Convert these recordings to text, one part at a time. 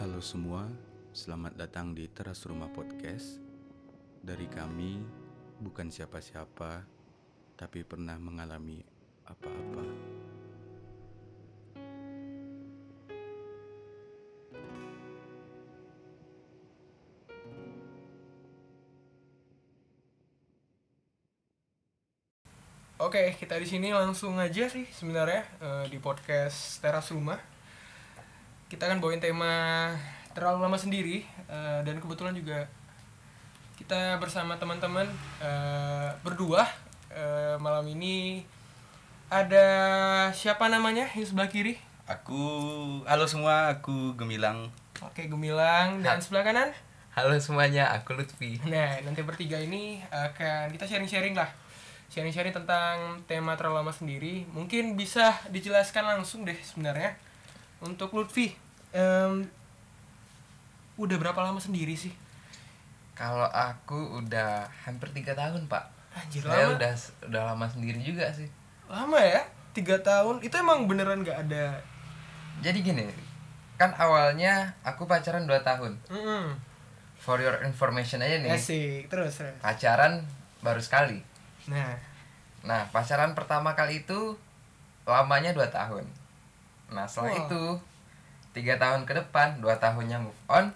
Halo semua, selamat datang di Teras Rumah Podcast. Dari kami, bukan siapa-siapa, tapi pernah mengalami apa-apa. Oke, kita di sini langsung aja sih sebenarnya eh, di podcast teras rumah. Kita akan bawain tema terlalu lama sendiri eh, dan kebetulan juga kita bersama teman-teman eh, berdua eh, malam ini ada siapa namanya yang sebelah kiri? Aku, halo semua, aku Gemilang. Oke, Gemilang dan sebelah kanan. Halo semuanya, aku Lutfi. Nah, nanti bertiga ini eh, akan kita sharing-sharing lah. Sharing-sharing tentang tema terlalu lama sendiri. Mungkin bisa dijelaskan langsung deh sebenarnya. Untuk Lutfi, em, udah berapa lama sendiri sih? Kalau aku udah hampir tiga tahun pak. Anjir, Saya lama. udah udah lama sendiri juga sih. Lama ya? Tiga tahun? Itu emang beneran gak ada... Jadi gini, kan awalnya aku pacaran 2 tahun. Mm-mm. For your information aja nih, Asik, terus. terus. Nah, pacaran baru sekali. Nah, Nah pacaran pertama kali itu lamanya 2 tahun. Nah setelah Wah. itu tiga tahun ke depan, dua tahunnya move on.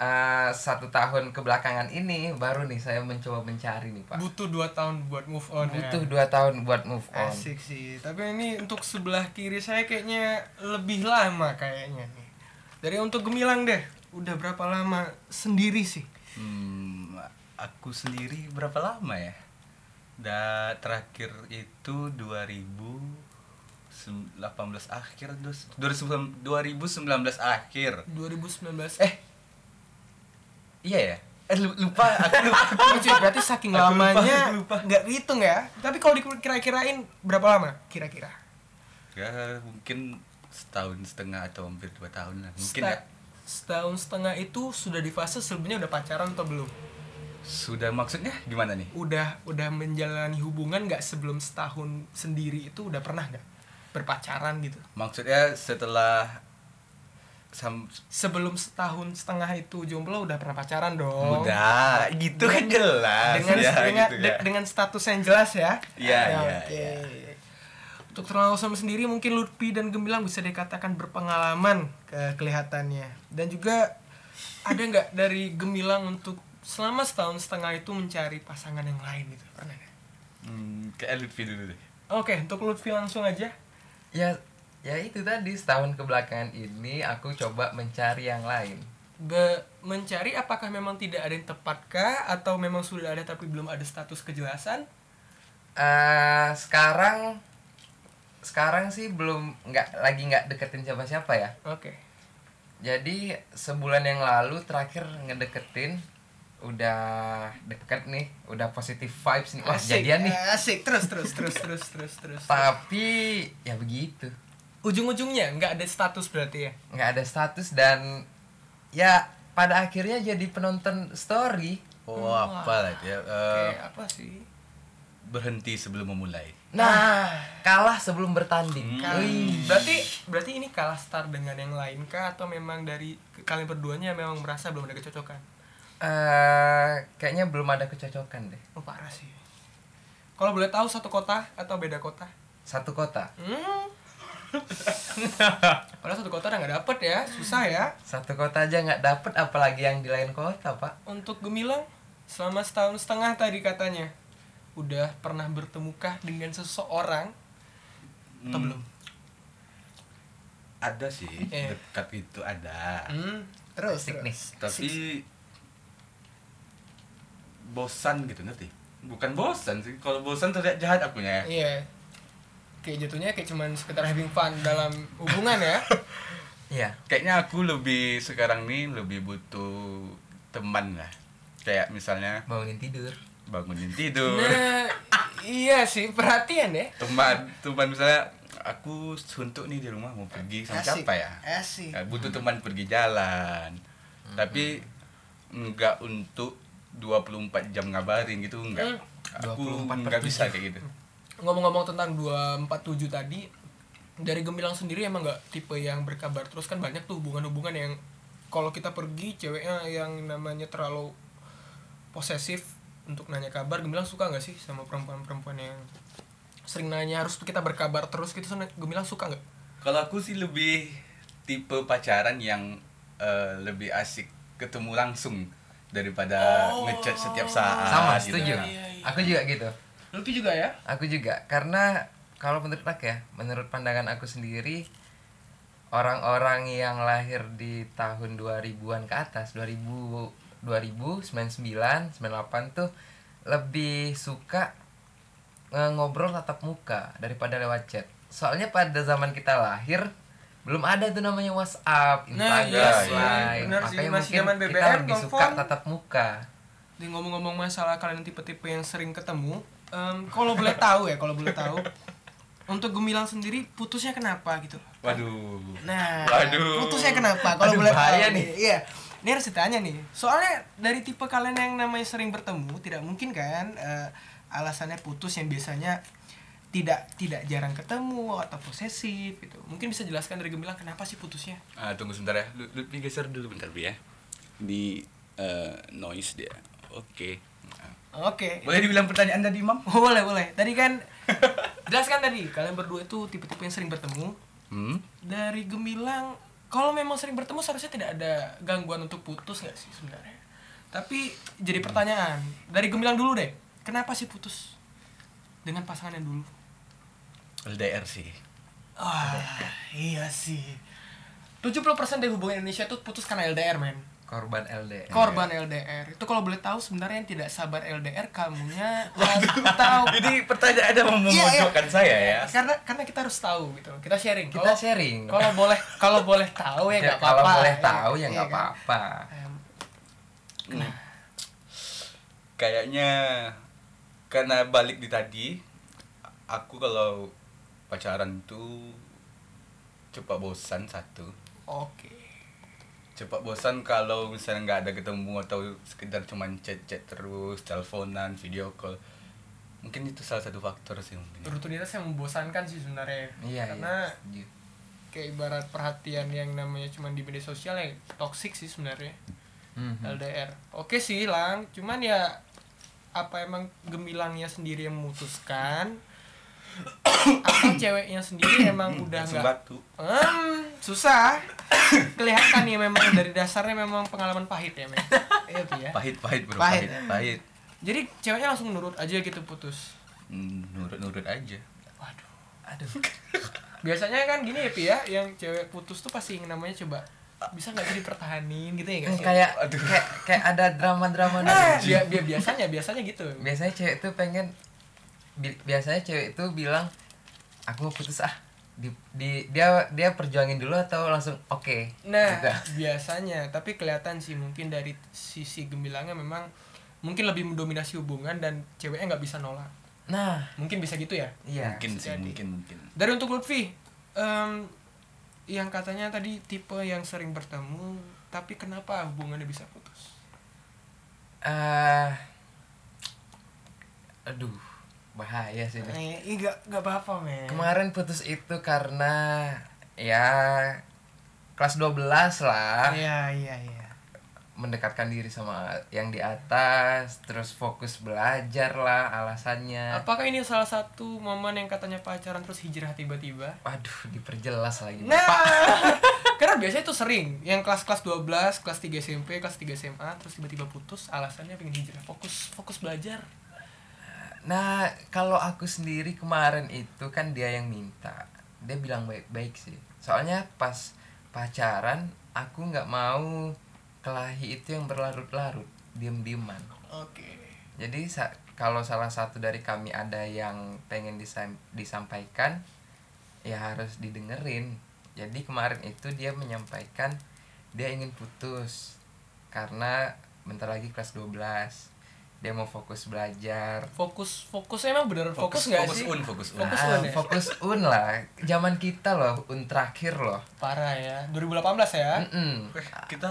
Eh, satu tahun kebelakangan ini baru nih saya mencoba mencari nih pak. butuh dua tahun buat move on ya? butuh dua tahun buat move on Asik sih, tapi ini untuk sebelah kiri saya kayaknya lebih lama kayaknya nih. Dari untuk Gemilang deh, udah berapa lama sendiri sih? Hmm, aku sendiri berapa lama ya? Da, terakhir itu 2018 akhir, dus- 2019 2019 akhir. 2019 eh Iya ya? Eh lu- lupa, aku lupa. lucu berarti saking Aku lupa, lamanya aku lupa. nggak dihitung ya tapi kalau dikira-kirain berapa lama kira-kira ya, mungkin setahun setengah atau hampir dua tahun lah. Mungkin Seta- ya. setahun setengah itu sudah di fase sebelumnya udah pacaran atau belum Sudah maksudnya gimana nih? udah udah menjalani hubungan nggak sebelum setahun sendiri itu udah pernah nggak berpacaran gitu Maksudnya setelah sam sebelum setahun setengah itu jomblo udah pernah pacaran dong muda gitu kan Oh. jelas dengan ya, dengan, gitu de- ya. dengan status yang jelas ya. Iya, Ya, iya, oke. Untuk terlalu sama sendiri mungkin Lutfi dan Gemilang bisa dikatakan berpengalaman ke kelihatannya. Dan juga ada nggak dari Gemilang untuk selama setahun setengah itu mencari pasangan yang lain gitu pernah nggak? Hmm, kayak Lutfi dulu deh. Oke, untuk Lutfi langsung aja. ya ya itu tadi setahun kebelakangan ini aku coba mencari yang lain Be- mencari apakah memang tidak ada yang tepatkah atau memang sudah ada tapi belum ada status kejelasan? Eh sekarang sekarang sih belum nggak lagi nggak deketin siapa siapa ya Oke. jadi sebulan yang lalu terakhir ngedeketin udah deket nih udah positive vibes nih wah Asik, Eh, jadian nih Asik, terus terus terus terus terus terus. tapi ya begitu ujung-ujungnya nggak ada status berarti ya nggak ada status dan ya pada akhirnya jadi penonton story Oh, Hmm. apa lah dia? eh, apa sih Berhenti sebelum memulai. Nah, kalah sebelum Hmm. bertanding. berarti berarti ini kalah start dengan yang lain kah atau memang dari ke- kalian berduanya memang merasa belum ada kecocokan Eh, kayaknya belum ada kecocokan deh. oh parah sih kalau boleh tahu satu kota atau beda kota Satu kota, hmm. padahal satu kota udah nggak dapet ya susah ya satu kota aja nggak dapet, apalagi yang di lain kota pak. untuk gemilang selama setahun setengah tadi katanya udah pernah bertemukah dengan seseorang atau Hmm, belum Ada sih, Eh. dekat itu ada. hmm. terus Asik nih. Tapi bosan gitu nanti. Bukan bosan sih, kalau bosan terlihat jahat akunya ya. Iya. Kayak jatuhnya kayak cuman sekedar having fun dalam hubungan ya. Iya. Kayaknya aku lebih sekarang nih lebih butuh teman lah. Kayak misalnya Bangunin tidur. bangunin tidur, Nah, iya sih perhatian ya. teman, teman misalnya aku suntuk nih di rumah mau pergi sama siapa ya? Asik. Ya, butuh teman pergi jalan tapi nggak untuk 24 jam ngabarin gitu nggak aku 24 per nggak bisa kayak gitu Ngomong-ngomong tentang 247 tadi, dari Gemilang sendiri emang nggak tipe yang berkabar terus kan banyak tuh hubungan-hubungan yang kalau kita pergi ceweknya yang namanya terlalu posesif untuk nanya kabar gemilang suka nggak sih sama perempuan-perempuan yang sering nanya harus kita berkabar terus gitu Sen- gemilang suka nggak Kalau aku sih lebih tipe pacaran yang eh, lebih asik ketemu langsung daripada ngechat setiap saat. sama gitu setuju kan. aku juga gitu Lupi juga ya aku juga karena kalau menurut aku ya menurut pandangan aku sendiri orang-orang yang lahir di tahun 2000-an ke atas 2000 2000 99 98 tuh lebih suka eh, ngobrol tatap muka daripada lewat chat soalnya pada zaman kita lahir belum ada tuh namanya WhatsApp, Nah, Instagram, iya sih, Line. benar sih. makanya Masih mungkin zaman kita BBM, lebih suka telepon. tatap muka. Di ngomong-ngomong masalah kalian tipe-tipe yang sering ketemu, em, kalau boleh tahu ya, kalau boleh tahu, untuk Gemilang sendiri putusnya kenapa gitu? loh. Waduh. Nah, Waduh. putusnya kenapa? Kalau Aduh, boleh bahaya tahu nih. Iya. Ini harus ditanya nih. Soalnya dari tipe kalian yang namanya sering bertemu, tidak mungkin kan eh, alasannya putus yang biasanya tidak tidak jarang ketemu atau posesif gitu. Mungkin bisa jelaskan dari Gemilang kenapa sih putusnya? Ah, tunggu sebentar ya. Lu, Lutfi geser dulu bentar Bi ya. Di eh, noise dia. Oke. Oke. Boleh dibilang pertanyaan tadi, Mam? Boleh, boleh. Tadi kan jelaskan tadi kalian berdua itu tipe-tipe yang sering bertemu. Hmm? Dari Gemilang, kalau memang sering bertemu seharusnya tidak ada gangguan untuk putus nggak sih sebenarnya? Tapi Hmm. jadi pertanyaan, dari Gemilang dulu deh. Kenapa sih putus dengan pasangan yang dulu? LDR sih. Ah, iya sih. 70% dari hubungan Indonesia itu putus karena LDR, men. Korban LDR. Korban LDR. Itu kalau boleh tahu sebenarnya yang tidak sabar LDR kamunya atau Jadi pertanyaan ada Iya, mem- iya. memojokkan saya ya. karena karena kita harus tahu gitu loh. kita sharing Kita Kalau- sharing. kalau boleh kalau boleh tahu ya Ya, nggak apa-apa kalau boleh tahu ya Iya nggak kan? apa-apa. Em, Kayaknya karena balik di tadi aku kalau pacaran tuh cepat bosan satu. oke Cepat bosan kalau misalnya nggak ada ketemu atau sekedar cuman chat-chat terus, teleponan, video call. Mungkin itu salah satu faktor sih mungkin. rutinitas yang membosankan sih sebenarnya Iya, karena iya. setuju. kayak ibarat perhatian yang namanya cuma di media sosial ya toxic sih sebenarnya Mhm. LDR oke sih lang cuman ya apa emang gemilangnya sendiri yang memutuskan atau ceweknya sendiri emang udah Langsung nggak batu. Hmm, susah. Kelihatan ya memang dari dasarnya memang pengalaman pahit ya, men. Iya, Pi, ya. Pahit, pahit, bro. Pahit. Pahit, pahit. Jadi ceweknya langsung nurut aja gitu putus. Hmm, Nurut-nurut aja. Waduh. Aduh. Biasanya kan gini ya, Pi ya, yang cewek putus tuh pasti yang namanya coba bisa nggak sih dipertahanin gitu ya Eh, guys? kayak kayak kayak ada drama-drama Nah, dulu. bi- bi- biasanya biasanya gitu. Biasanya cewek tuh pengen bi- biasanya cewek tuh bilang aku mau putus ah. Di, di- dia dia perjuangin dulu atau langsung oke. Nah, Gitu. biasanya, tapi kelihatan sih mungkin dari sisi gemilangnya memang mungkin lebih mendominasi hubungan dan ceweknya nggak bisa nolak. Nah, Mungkin bisa gitu ya? iya. Mungkin sih, jadi. mungkin, mungkin. Dari untuk Lutfi, em, yang katanya tadi tipe yang sering bertemu, tapi kenapa hubungannya bisa putus? Eh, aduh, bahaya sih ini. Eh, Ih, gak, gak apa-apa, men. Iya. Kemarin putus itu karena ya kelas 12 lah. Iya, iya, iya. mendekatkan diri sama yang di atas terus fokus belajar lah alasannya Apakah ini salah satu momen yang katanya pacaran terus hijrah tiba-tiba? waduh diperjelas lagi Nah, karena biasanya itu sering. Yang kelas-kelas 12, kelas 3 SMP, kelas 3 SMA, terus tiba-tiba putus, alasannya pengen hijrah. Fokus, fokus belajar. nah kalau aku sendiri kemarin itu kan dia yang minta dia bilang baik-baik sih soalnya pas pacaran aku nggak mau kelahi itu yang berlarut-larut diem-dieman Oke. jadi sa- kalau salah satu dari kami ada yang pengen disam- disampaikan ya harus didengerin jadi kemarin itu dia menyampaikan dia ingin putus karena bentar lagi kelas 12 dia mau fokus belajar Fokus, fokusnya emang beneran fokus, nggak fokus sih? un, fokus un. Fokus Ah, un ya? fokus un lah zaman kita loh un terakhir loh Parah ya. 2018 ya. Mm-mm. Eh, kita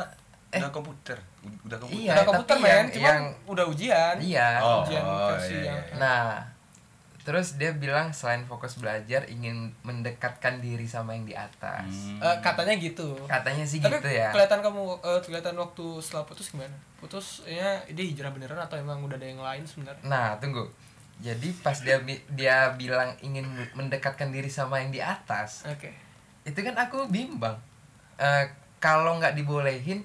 udah komputer, udah komputer. Iya, udah tapi komputer yang- men, cuman yang- udah ujian. iya Oh, ujian oh, versi Nah, iya, yang iya. nah Terus dia bilang selain fokus belajar ingin mendekatkan diri sama yang di atas. Hmm. Eh, katanya gitu Katanya sih tapi gitu ya. kelihatan kamu eh, kelihatan waktu setelah putus gimana putusnya dia hijrah beneran atau emang udah ada yang lain sebenarnya Nah, tunggu. Jadi pas dia bi- dia bilang ingin mendekatkan diri sama yang di atas, oke itu kan aku bimbang. Eh, kalau nggak dibolehin,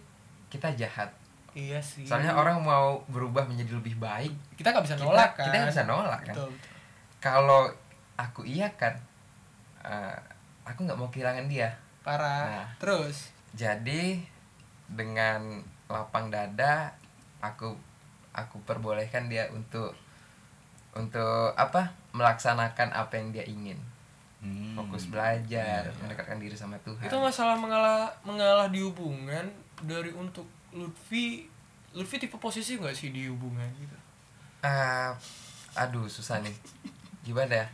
kita jahat. iya sih Soalnya orang mau berubah menjadi lebih baik, kita nggak bisa kita nolak kan kita nggak bisa nolak kan. Betul, betul. Kalau aku iya kan, eh, aku nggak mau kehilangan dia. parah Nah. terus Jadi dengan lapang dada aku aku perbolehkan dia untuk untuk apa melaksanakan apa yang dia ingin Hmm. fokus belajar Iya, iya. mendekatkan diri sama Tuhan itu masalah mengalah mengalah di hubungan dari untuk Lutfi Lutfi tipe posisi nggak sih di hubungan gitu Eh, aduh susah nih gimana ya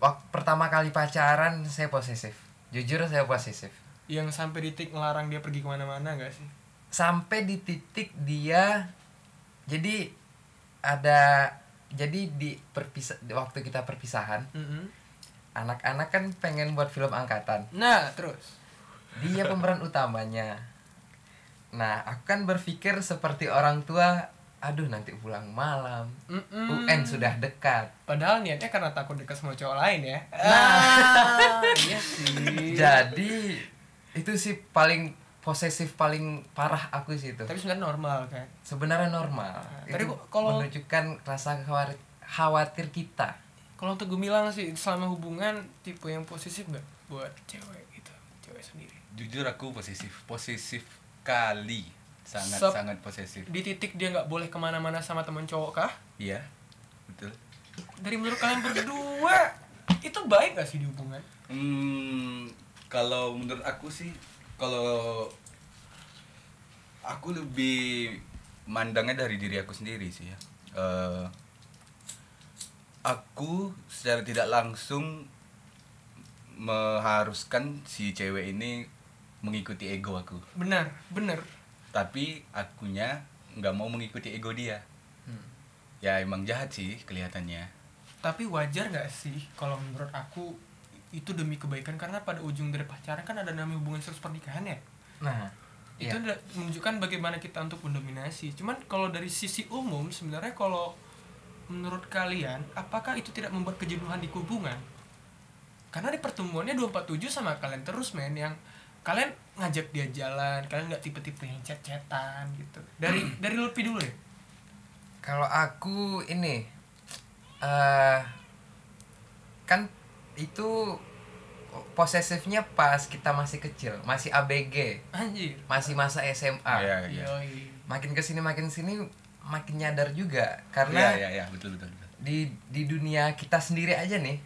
waktu pertama kali pacaran saya posesif jujur saya posesif yang sampai detik ngelarang dia pergi kemana-mana nggak sih sampai di titik dia jadi ada jadi di perpisa di waktu kita perpisahan Mm-mm. anak-anak kan pengen buat film angkatan nah terus dia pemeran utamanya nah aku kan berpikir seperti orang tua aduh nanti pulang malam Mm-mm. UN sudah dekat padahal niatnya karena takut dekat sama cowok lain ya nah iya sih jadi itu sih paling posesif paling parah aku sih itu tapi sebenarnya normal kan sebenarnya normal Nah, itu tapi kalau- menunjukkan rasa khawar- khawatir kita kalau untuk Gumilang sih selama hubungan tipe yang posesif nggak buat cewek gitu cewek sendiri Jujur aku posesif, posesif kali, sangat Sep- sangat posesif. di titik dia nggak boleh kemana-mana sama teman cowok kah Iya, betul. dari menurut kalian berdua itu baik gak sih di hubungan Hmm, kalau menurut aku sih, kalau aku lebih mandangnya dari diri aku sendiri sih ya. Eh, aku secara tidak langsung mengharuskan si cewek ini mengikuti ego aku. benar benar tapi akunya nggak mau mengikuti ego dia Hmm. ya emang jahat sih kelihatannya tapi wajar gak sih kalau menurut aku itu demi kebaikan karena pada ujung dari pacaran kan ada namanya hubungan status pernikahan ya nah Iya. itu udah menunjukkan bagaimana kita untuk mendominasi cuman kalau dari sisi umum sebenarnya kalau menurut kalian apakah itu tidak membuat kejenuhan di hubungan karena di pertemuannya 247 sama kalian terus men yang kalian ngajak dia jalan kalian nggak tipe-tipe yang chat-chatan gitu dari dari Lutfi dulu ya? deh Kalau aku ini eh kan itu posesifnya pas kita masih kecil, masih ABG, anjir masih masa SMA. Iya, iya. Yoi. Makin kesini makin sini makin nyadar juga Iya, karena iya, iya, betul betul betul di di dunia kita sendiri aja nih.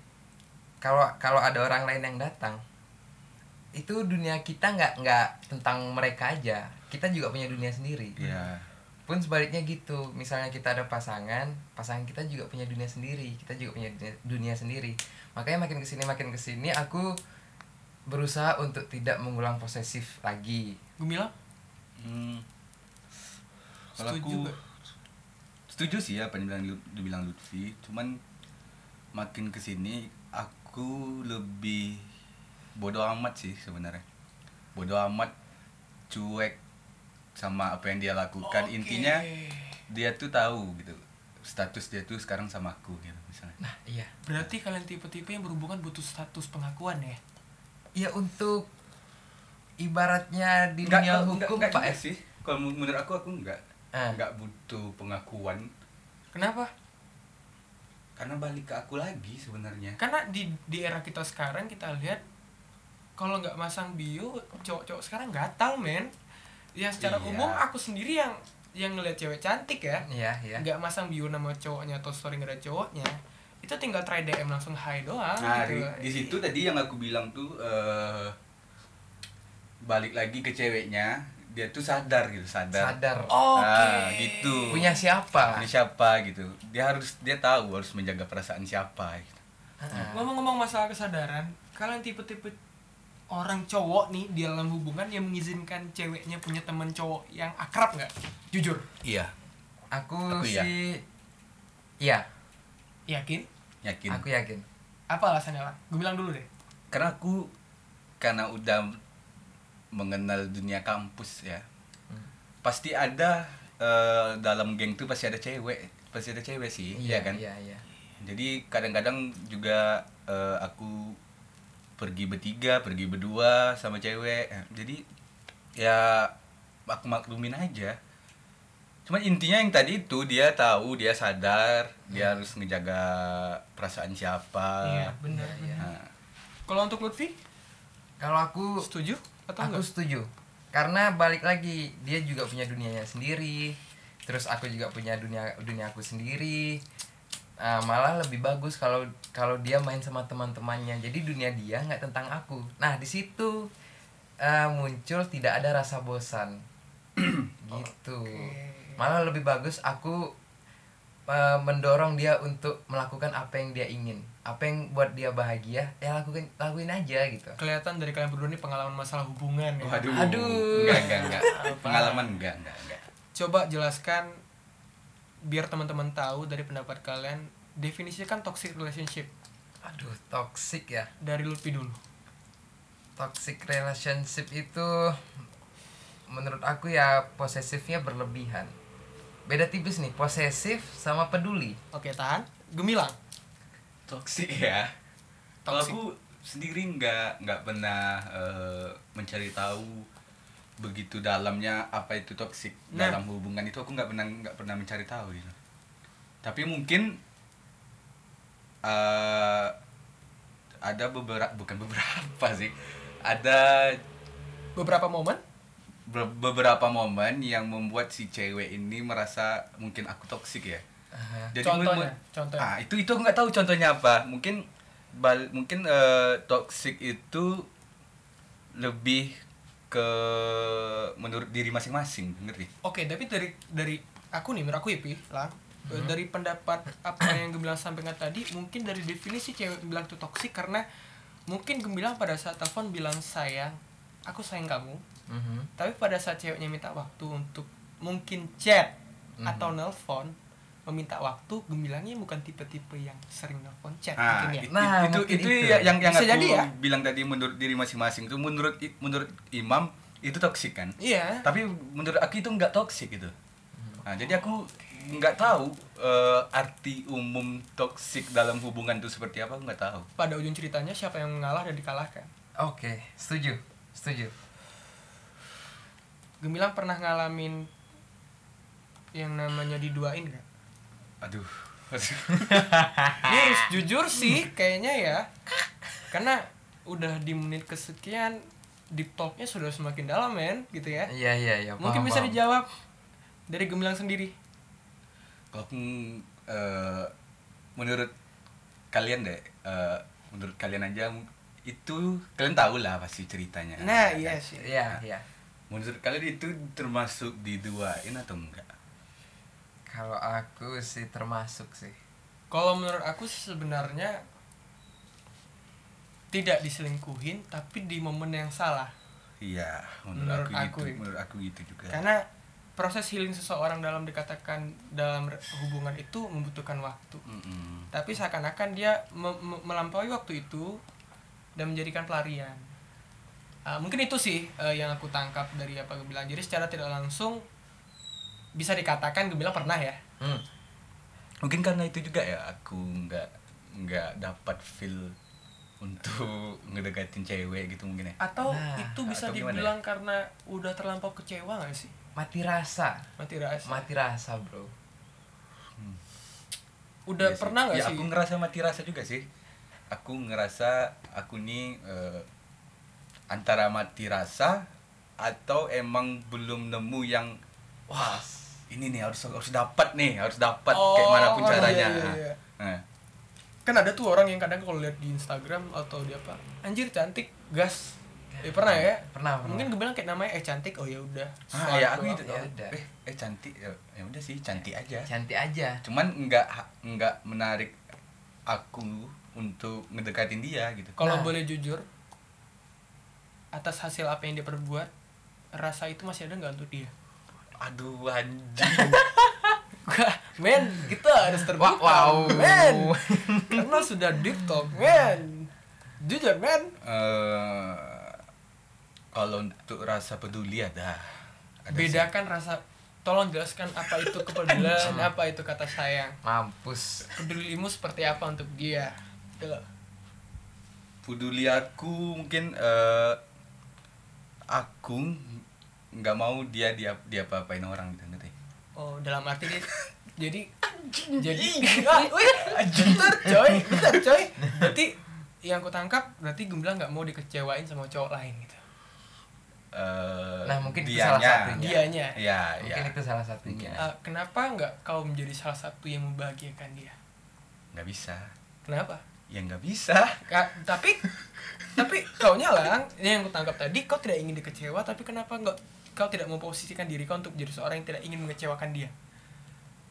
Kalau kalau ada orang lain yang datang, itu dunia kita nggak nggak tentang mereka aja. Kita juga punya dunia sendiri iya pun sebaliknya gitu misalnya kita ada pasangan pasangan kita juga punya dunia sendiri kita juga punya dunia, dunia sendiri makanya makin kesini makin kesini aku berusaha untuk tidak mengulang posesif lagi gue bilang hmm. kalau Setuju aku nggak? setuju sih ya apa yang dibilang Lut- dibilang Lutfi cuman makin kesini aku lebih bodoh amat sih sebenarnya bodoh amat cuek sama apa yang dia lakukan Oke. intinya dia tuh tahu gitu status dia tuh sekarang sama aku gitu misalnya nah iya berarti kalian tipe-tipe yang berhubungan butuh status pengakuan ya ya untuk ibaratnya di Nggak, dunia nggak, hukum nggak, pak nggak sih kalau men- menurut aku aku nggak Ah. nggak butuh pengakuan kenapa karena balik ke aku lagi sebenarnya karena di di era kita sekarang kita lihat kalau nggak masang bio cowok-cowok sekarang gatal men ya secara Iya. umum aku sendiri yang yang ngeliat cewek cantik ya iya iya nggak masang bio nama cowoknya atau story nggak ada cowoknya itu tinggal try DM langsung hi doang nah gitu. di, di situ tadi yang aku bilang tuh eh, balik lagi ke ceweknya dia tuh sadar gitu sadar, sadar oke Ah, gitu punya siapa Punya siapa gitu dia harus dia tahu harus menjaga perasaan siapa gitu. Ah, ngomong-ngomong masalah kesadaran kalian tipe-tipe orang cowok nih di dalam hubungan yang mengizinkan ceweknya punya teman cowok yang akrab nggak jujur iya aku Aku iya. sih iya yakin yakin Aku yakin. Apa alasannya lah? Gue bilang dulu deh. karena aku karena udah mengenal dunia kampus ya pasti ada eh, dalam geng tuh pasti ada cewek pasti ada cewek sih ya kan Iya, iya. jadi kadang-kadang juga eh, aku pergi bertiga pergi berdua sama cewek jadi ya aku maklumin aja cuman intinya yang tadi itu dia tahu dia sadar dia harus ngejaga perasaan siapa Iya, benar. Iya, iya. Nah, Kalau untuk Lutfi, Kalau aku setuju atau aku enggak? setuju karena balik lagi dia juga punya dunianya sendiri terus aku juga punya dunia dunia aku sendiri Ah, malah lebih bagus kalau kalau dia main sama teman-temannya jadi dunia dia nggak tentang aku nah di situ ah, muncul tidak ada rasa bosan gitu malah lebih bagus aku eh, mendorong dia untuk melakukan apa yang dia ingin apa yang buat dia bahagia ya lakukan lakuin aja gitu Kelihatan dari kalian berdua ini pengalaman masalah hubungan ya. waduh Aduh. enggak enggak enggak pengalaman enggak enggak enggak Coba jelaskan biar teman-teman tahu dari pendapat kalian definisikan toxic relationship aduh toxic ya dari Lutfi dulu. toxic relationship itu menurut aku ya posesifnya berlebihan beda tipis nih posesif sama peduli Oke, tahan. Gemilang. toksik ya kalau Toxic. aku sendiri nggak nggak pernah eh, mencari tahu begitu dalamnya apa itu toksik Nah. dalam hubungan itu aku nggak pernah nggak pernah mencari tahu gitu tapi mungkin eh, ada beberapa bukan beberapa sih ada Beberapa momen be- beberapa momen yang membuat si cewek ini merasa mungkin aku toksik ya Aha. Contohnya, menurut- contohnya. Ah, itu itu aku nggak tahu contohnya apa. Mungkin bal- mungkin eh, toxic itu lebih ke menurut diri masing-masing, ngerti? Oke, tapi dari dari aku nih, menurut aku Ipi, lang Eh, dari pendapat apa yang Gemilang sampaikan tadi, mungkin dari definisi cewek bilang itu toksik karena mungkin Gemilang pada saat telepon bilang sayang, aku sayang kamu. Mhm. Tapi pada saat ceweknya minta waktu untuk mungkin chat Mhm. atau nelpon, meminta waktu, Gemilangnya bukan tipe-tipe yang sering nelpon chat Ah, mungkin ya. i- Nah, itu mungkin itu, itu. ya- yang yang Bisa aku jadi ya. bilang tadi menurut diri masing-masing itu menurut i- menurut imam itu toksik kan? Iya. Tapi menurut aku itu nggak toksik gitu. Nah, jadi aku nggak tahu eh, arti umum toksik dalam hubungan itu seperti apa, aku nggak tahu. Pada ujung ceritanya siapa yang mengalah dan dikalahkan. oke setuju setuju Gemilang pernah ngalamin yang namanya diduain gak? Aduh. aduh. Ini jujur sih kayaknya ya Karena udah di menit kesekian Deep talknya sudah semakin dalam men gitu ya iya iya iya Mungkin paham, bisa paham. dijawab dari Gemilang sendiri Kalau aku, eh, menurut kalian deh, eh, menurut kalian aja m- itu kalian tahu lah pasti Ya, ceritanya. Nah Kan? iya sih iya iya Menurut kalian itu termasuk diduain atau enggak? kalau aku sih termasuk sih Kalau menurut aku sih sebenarnya Tidak diselingkuhin tapi di momen yang salah Iya, Menurut menurut, aku, aku gitu. ya. Menurut aku gitu juga. Karena proses healing seseorang dalam dikatakan dalam hubungan itu membutuhkan waktu Mm-mm. tapi seakan-akan dia me- me- melampaui waktu itu dan menjadikan pelarian Ah, mungkin itu sih eh, yang aku tangkap dari apa gue bilang jadi secara tidak langsung bisa dikatakan gue bilang pernah ya Hmm. Mungkin karena itu juga ya aku nggak nggak dapat feel untuk ngedekatin cewek gitu mungkin ya. atau Nah, itu bisa atau gimana dibilang karena udah terlampau kecewa gak sih mati rasa mati rasa mati rasa bro udah Iya sih. pernah gak ya, sih aku ngerasa mati rasa juga sih aku ngerasa aku nih eh, antara mati rasa atau emang belum nemu yang wah ini nih harus harus dapat nih harus dapat Oh, kayak manapun iya, caranya iya, iya. Nah, kan ada tuh orang yang kadang kalau lihat di Instagram atau di apa anjir cantik gas ya pernah ya Pernah, pernah. mungkin gue bilang kayak namanya eh cantik oh ya udah ah, ya aku Suatu gitu ya oh, udah. eh, eh cantik ya, ya udah sih cantik aja cantik aja cuman nggak nggak menarik aku untuk ngedekatin dia gitu Kalau Nah. boleh jujur, atas hasil apa yang dia perbuat, rasa itu masih ada nggak untuk dia? aduh anjing Enggak, men, kita harus terbuka, Wow, wow. men. Karena sudah deep talk, men. Jujur, men. Eh, kalau untuk rasa peduli ada. ada sih. Bedakan rasa tolong jelaskan apa itu kepedulian, apa itu kata sayang. mampus Pedulimu seperti apa untuk dia? Gitu loh. Peduli aku mungkin eh, aku nggak mau dia dia dia apa-apain orang gitu ngerti. Oh, dalam arti dia jadi jadi Ah, wih, bentar coy, bentar coy. Berarti yang aku tangkap berarti Gemblang nggak mau dikecewain sama cowok lain gitu. Eh, Nah, mungkin itu salah dianya. satunya. Dianya. Iya, iya. mungkin itu salah satunya Ah, kenapa nggak kau menjadi salah satu yang membahagiakan dia? Nggak bisa. Kenapa? Ya nggak bisa. Ka- tapi tapi kau nyalang ini yang kutangkap tadi kau tidak ingin dikecewa tapi kenapa nggak kau tidak memposisikan diri kau untuk jadi seorang yang tidak ingin mengecewakan dia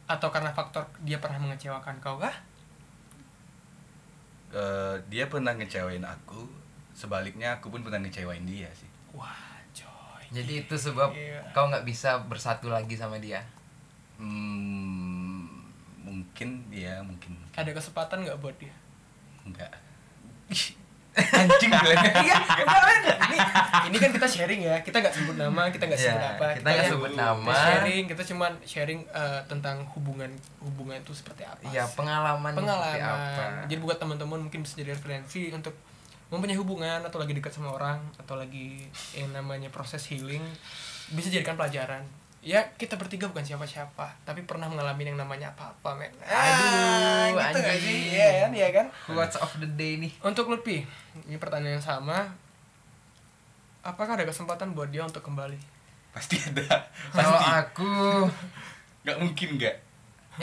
atau karena faktor dia pernah mengecewakan kau kah Eh, dia pernah ngecewain aku. Sebaliknya aku pun pernah ngecewain dia sih. wah coy jadi itu sebab Iya. kau nggak bisa bersatu lagi sama dia Hmm, mungkin ya mungkin ada kesempatan nggak buat dia enggak anjing gue iya enggak, men. ini ini kan kita sharing ya kita nggak sebut nama kita nggak Iya, sebut apa kita nggak kan sebut kita nama sharing kita cuman sharing eh, tentang hubungan hubungan itu seperti apa Iya sih. pengalaman seperti apa pengalaman. Jadi buat teman-teman mungkin bisa jadi referensi untuk mempunyai hubungan atau lagi dekat sama orang atau lagi yang namanya proses healing bisa jadikan pelajaran. Ya kita bertiga bukan siapa-siapa, tapi pernah mengalami yang namanya apa-apa, men. Ah, Aduh, gitu nggak sih? anjing. Iya kan, iya kan? quotes of the day nih Untuk Lutfi, ini pertanyaan yang sama. Apakah ada kesempatan buat dia untuk kembali? pasti ada kalau pasti aku nggak mungkin nggak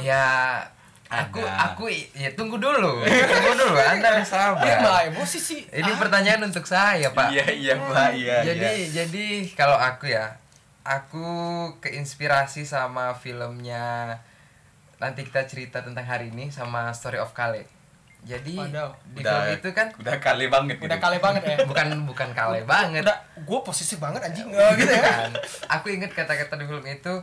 ya aku Ada. aku ya tunggu dulu tunggu dulu anda harus Dia sabar malah emosi sih. ini Ah, pertanyaan untuk saya pak Hmm, iya iya pak iya jadi iya. jadi kalau aku ya aku keinspirasi sama filmnya nanti kita cerita tentang hari ini sama Story of Kale jadi Wadaw. di film itu kan udah kali banget udah gitu. kale banget ya. bukan bukan Kale banget Udah, gue posisi banget anjing Oh, Eh, gitu ya. Bukan. Iya kan? aku inget kata-kata di film itu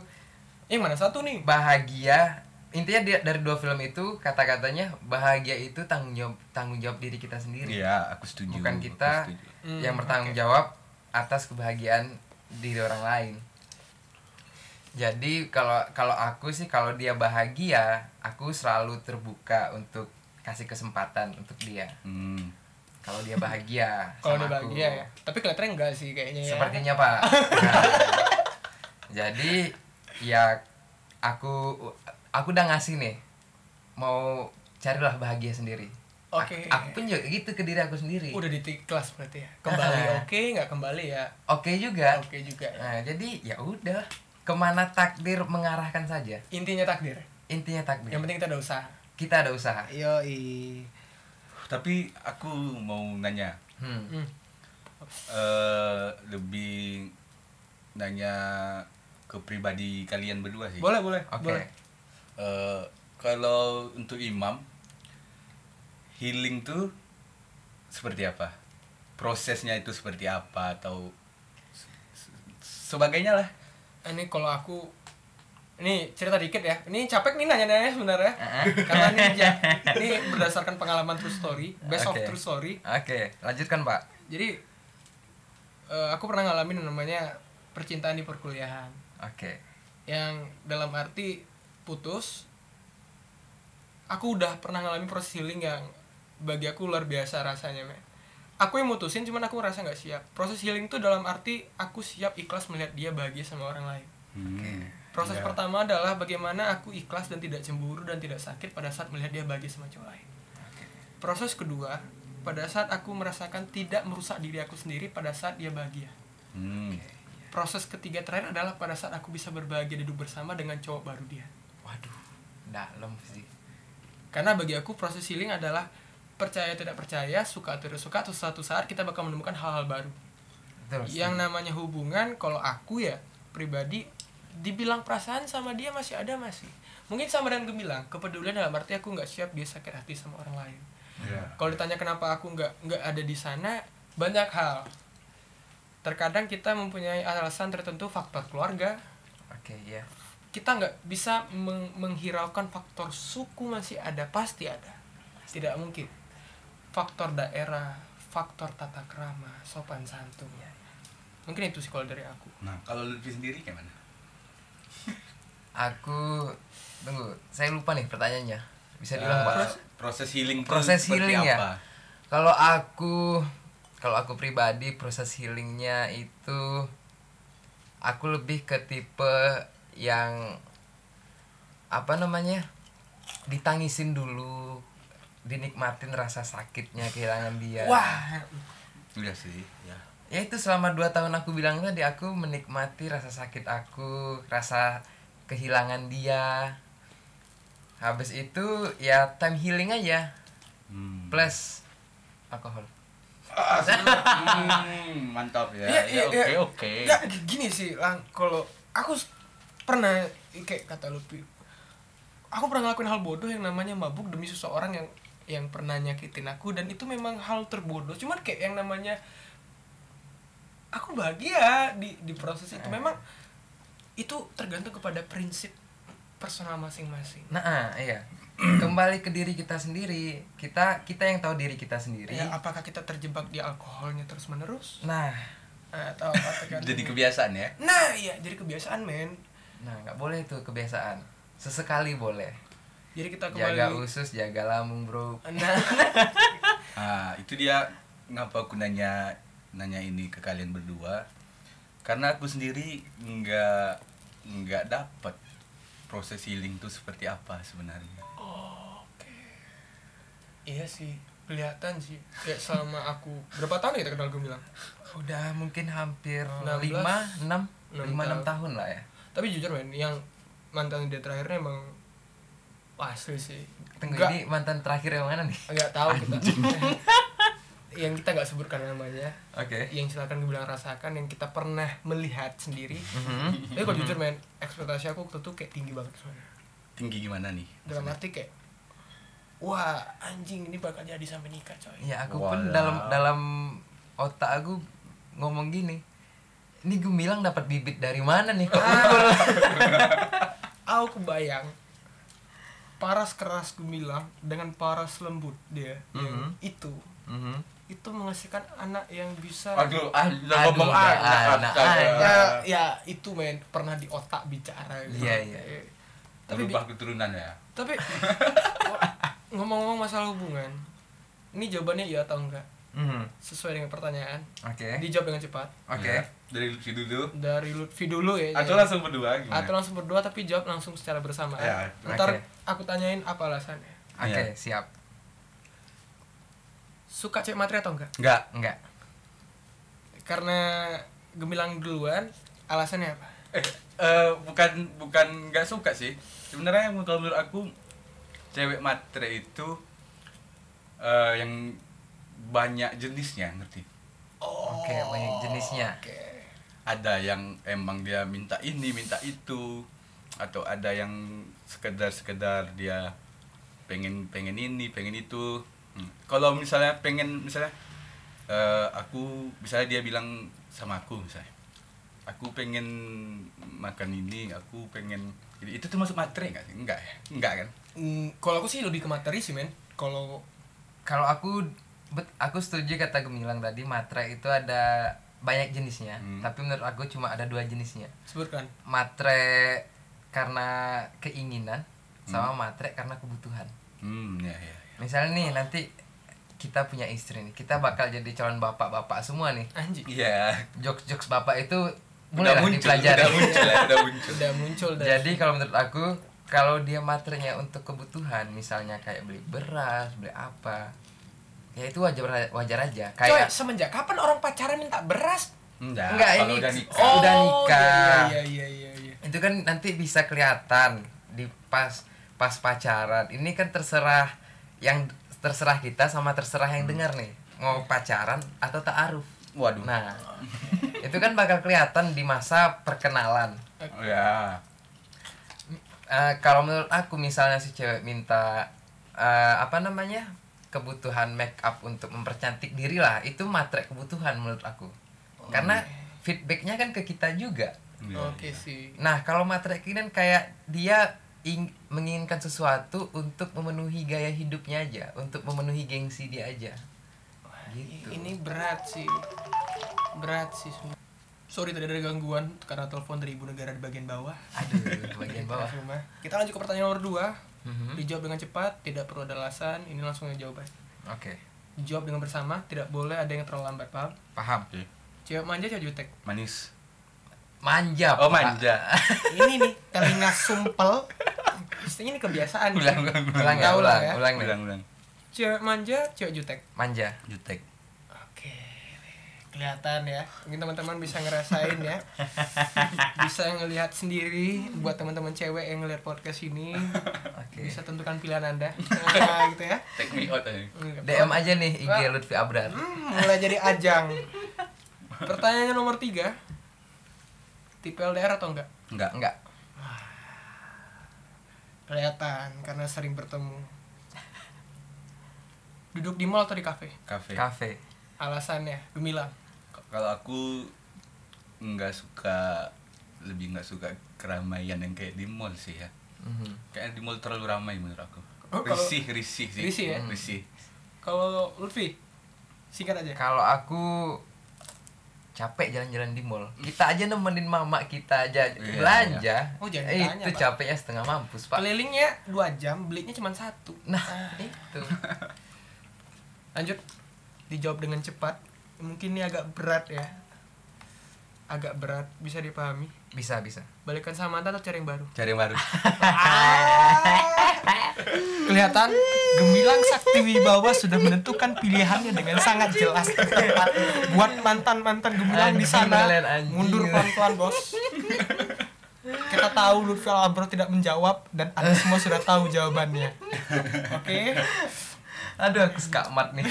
Ini mana satu nih? bahagia intinya dia- dari dua film itu kata-katanya bahagia itu tanggung jawab tanggung jawab diri kita sendiri iya aku setuju bukan aku kita setuju. Hmm, yang bertanggung jawab atas kebahagiaan diri orang lain. Jadi kalau kalau aku sih kalau dia bahagia, aku selalu terbuka untuk kasih kesempatan untuk dia. hmm. Kalau dia bahagia, Kalau sama udah aku. bahagia ya. Tapi kelihatannya enggak sih kayaknya ya. Sepertinya Pak. Nah, jadi ya aku aku udah ngasih nih mau carilah bahagia sendiri. Oke. Aku, aku pun juga gitu ke diri aku sendiri. Udah di titik kelas berarti ya. Kembali Ah. oke, nggak kembali ya. Oke juga. Oke juga. ya. Nah, jadi ya udah kemana takdir mengarahkan saja. Intinya takdir. Intinya takdir. Yang penting kita ada usaha. Kita ada usaha. Yo tapi aku mau nanya Hmm. Hmm. eh lebih nanya ke pribadi kalian berdua sih Boleh, boleh. Oke. Boleh. Eh, kalau untuk imam healing tuh seperti apa prosesnya itu seperti apa atau se- se- sebagainya lah Eh, Ini kalau aku ini cerita dikit ya. Ini capek nih nanya-nanya sebenarnya. Ah. Karena ini, ja- ini berdasarkan pengalaman true story, best Oke. of true story. Oke, lanjutkan, Pak. Jadi eh, aku pernah ngalamin yang namanya percintaan di perkuliahan. Oke. yang dalam arti putus aku udah pernah ngalamin proses healing yang bagi aku luar biasa rasanya men aku yang mutusin cuman aku ngerasa nggak siap proses healing tuh dalam arti aku siap ikhlas melihat dia bahagia sama orang lain proses Iya. pertama adalah bagaimana aku ikhlas dan tidak cemburu dan tidak sakit pada saat melihat dia bahagia sama cowok lain proses kedua pada saat aku merasakan tidak merusak diri aku sendiri pada saat dia bahagia Hmm. proses ketiga terakhir adalah pada saat aku bisa berbahagia duduk bersama dengan cowok baru dia Waduh, dalam sih. Karena bagi aku proses healing adalah percaya tidak percaya, suka atau tidak suka, atau suatu saat kita bakal menemukan hal-hal baru. Betul. Yang namanya hubungan, kalau aku ya pribadi, dibilang perasaan sama dia masih ada masih. Mungkin sama dengan gemilang, kepedulian dalam arti aku nggak siap dia sakit hati sama orang lain. Iya. Kalau ditanya kenapa aku nggak nggak ada di sana, banyak hal. Terkadang kita mempunyai alasan tertentu faktor keluarga, Oke, ya. kita nggak bisa meng- menghiraukan faktor suku masih ada pasti ada tidak mungkin faktor daerah faktor tata krama sopan santun mungkin itu sih kalau dari aku Nah, kalau Lutfi sendiri gimana? Aku tunggu, saya lupa nih pertanyaannya. Bisa Eh, diulang, Pak? proses healing tuh Ya. proses seperti healing ya apa? kalau aku kalau aku pribadi proses healingnya itu aku lebih ke tipe yang apa namanya ditangisin dulu dinikmatin rasa sakitnya kehilangan dia Udah sih, ya. ya itu selama 2 tahun aku bilang tadi aku menikmati rasa sakit aku rasa kehilangan dia habis itu ya time healing aja Hmm. plus alkohol Hmm, mantap ya. Iya, Ya, iya, iya. Oke, oke. ya gini sih lang kalau aku s- pernah kayak kata Lutfi aku pernah ngelakuin hal bodoh yang namanya mabuk demi seseorang yang yang pernah nyakitin aku dan itu memang hal terbodoh cuman kayak yang namanya aku bahagia di di proses itu memang itu tergantung kepada prinsip personal masing-masing Nah, ah, iya. Kembali ke diri kita sendiri. Kita kita yang tahu diri kita sendiri. Ya, apakah kita terjebak di alkoholnya terus menerus Nah, atau apa tergantung- Jadi kebiasaan ya. nah iya jadi kebiasaan men nah nggak boleh itu kebiasaan. Sesekali boleh. jadi kita kembali Jaga usus, jaga lambung, Bro. nah Ah, itu dia ngapa aku nanya nanya ini ke kalian berdua. Karena aku sendiri nggak nggak dapat proses healing tuh seperti apa sebenarnya. Iya sih, kelihatan sih. Kayak selama aku berapa tahun ya kita kenal gue bilang. Udah mungkin hampir 16, 5 6 enam 5 6 tahun. tahun lah ya. Tapi jujur men, yang mantan dia terakhirnya emang wah asli sih. Tunggu Nggak- ini mantan terakhir yang mana nih? nggak tahu kita. yang kita nggak sebutkan namanya, Oke. yang silakan gue bilang rasakan, yang kita pernah melihat sendiri. Mhm. Tapi kalau jujur men, ekspektasi aku waktu itu kayak tinggi banget soalnya. Tinggi gimana nih? Dalam arti kayak wah anjing ini bakal jadi sampai nikah coy. Ya aku pun Walau. dalam dalam otak aku ngomong gini. Ini gemilang dapat bibit dari mana nih? Kok Aku kebayang paras keras gemilang dengan paras lembut dia Mm-hmm. yang itu Mhm. itu menghasilkan anak yang bisa Aduh, ah, udah Aduh, ngomong udah, anak, anak, astaga. ya ya itu men pernah di otak bicara gitu. Iya, iya. Eh, tapi Berubah keturunan ya. tapi ngomong-ngomong masalah hubungan ini jawabannya iya atau enggak Mhm. sesuai dengan pertanyaan Oke. Eh? dijawab dengan cepat Oke. Ya, Dari Lutfi dulu. dari Lutfi dulu ya Atau jangan- langsung berdua gimana? atau langsung berdua tapi jawab langsung secara bersamaan Ya, ntar oke. aku tanyain apa alasannya Oke, Iya. siap. suka cek materi atau enggak Enggak. Enggak. karena gemilang duluan alasannya apa Eh, eh, bukan bukan nggak suka sih. Sebenarnya kalau menurut aku cewek matre itu eh, yang banyak jenisnya, ngerti? Oh, Oke, banyak jenisnya. Ada yang emang dia minta ini, minta itu atau ada yang sekedar-sekedar dia pengen pengen ini, pengen itu. Hmm. Kalau misalnya pengen misalnya eh, aku misalnya dia bilang sama aku misalnya aku pengen makan ini, aku pengen ini. itu tuh masuk materi nggak sih? Enggak ya? Enggak kan? Mm, kalau aku sih lebih ke materi sih men kalau Kalau aku bet, aku setuju kata Gemilang tadi matre itu ada banyak jenisnya, Hmm. tapi menurut aku cuma ada dua jenisnya. sebutkan Matre karena keinginan sama matre karena kebutuhan. Hmm, ya ya. ya. Misalnya nih nanti kita punya istri nih, kita bakal jadi calon bapak-bapak semua nih. anjing Iya. Jokes-jokes bapak itu mulai lah Udah muncul, dipelajari. udah muncul, ya, udah muncul. udah muncul dari Jadi kalau menurut aku kalau dia materinya untuk kebutuhan misalnya kayak beli beras, beli apa. Ya itu wajar wajar aja. coy Kayak semenjak kapan orang pacaran minta beras Enggak, Enggak, kalau ini udah nikah. Oh, udah iya, nikah. iya iya iya iya itu kan nanti bisa kelihatan di pas pas pacaran. Ini kan terserah yang terserah kita sama terserah yang Hmm. dengar nih. Mau pacaran atau ta'aruf. Waduh. Nah, itu kan bakal kelihatan di masa perkenalan. Oh, ya. Eh, kalau menurut aku misalnya si cewek minta eh, apa namanya kebutuhan make up untuk mempercantik Oh, diri lah itu matre kebutuhan menurut aku karena feedbacknya kan ke kita juga Iya, Oke iya. sih. Nah, kalau materi keinginan kayak dia ing- menginginkan sesuatu untuk memenuhi gaya hidupnya aja, untuk memenuhi gengsi dia aja. iya. Gitu. Ini berat sih. Berat sih semua. Sorry tadi ada gangguan karena telepon dari ibu negara di bagian bawah. Aduh, Gitu, bagian bawah. Teras rumah. Kita lanjut ke pertanyaan nomor 2. Mhm. Dijawab dengan cepat, tidak perlu ada alasan. Ini langsung jawaban. Oke, Dijawab dengan bersama, tidak boleh ada yang terlalu lambat, paham? paham. Oke. Cewek manja cewek jutek. Manis. Manja. Oh Pak. manja. ini nih, telinga sumpel. Pastinya ini kebiasaan. ulang ulang ulang. Ulang ya, Tahu lah ulang, ya. ulang, nih. Ulang ulang. Cewek manja, cewek jutek. Manja. Jutek. Oke. Kelihatan ya. Mungkin teman-teman bisa ngerasain ya. Bisa ngelihat sendiri buat teman-teman cewek yang ngelihat podcast ini. Oke. Bisa tentukan pilihan Anda. Nah, gitu ya. Take me out eh. aja. DM aja nih IG Wah. Lutfi Abrar. Hmm, mulai jadi ajang. Pertanyaan nomor tiga. Tipe LDR atau enggak? Enggak. Enggak. Kelihatan karena sering bertemu. Duduk di mall atau di kafe? Kafe. Kafe. Alasannya gemilang. Kalau aku nggak suka lebih nggak suka keramaian yang kayak di mall sih ya. Mhm. Kayaknya di mall terlalu ramai menurut aku. Oh, kalau- risih, risih sih. Hmm. Risih ya? Risih. Kalau Lutfi, singkat aja. Kalau aku capek jalan-jalan di mall. Kita aja nemenin mama kita aja Iya, belanja. Oh, jangan Eh, ditanya, itu Pak. capeknya setengah mampus, Pak. Kelilingnya dua jam, belinya cuma satu. Nah, Ah, itu. Lanjut, dijawab dengan cepat. Mungkin ini agak berat ya. Agak berat, bisa dipahami. Bisa, bisa. Balikan sama mantan atau cari yang baru? Cari yang baru. Kelihatan Gemilang Sakti Wibawa sudah menentukan pilihannya dengan sangat jelas tepat. Buat mantan-mantan Gemilang di Anjing sana kalian, anjing. mundur pelan-pelan, Bos. Kita tahu Lutfi Albro tidak menjawab dan Anda semua sudah tahu jawabannya. Oke. Aduh, aku suka mat nih.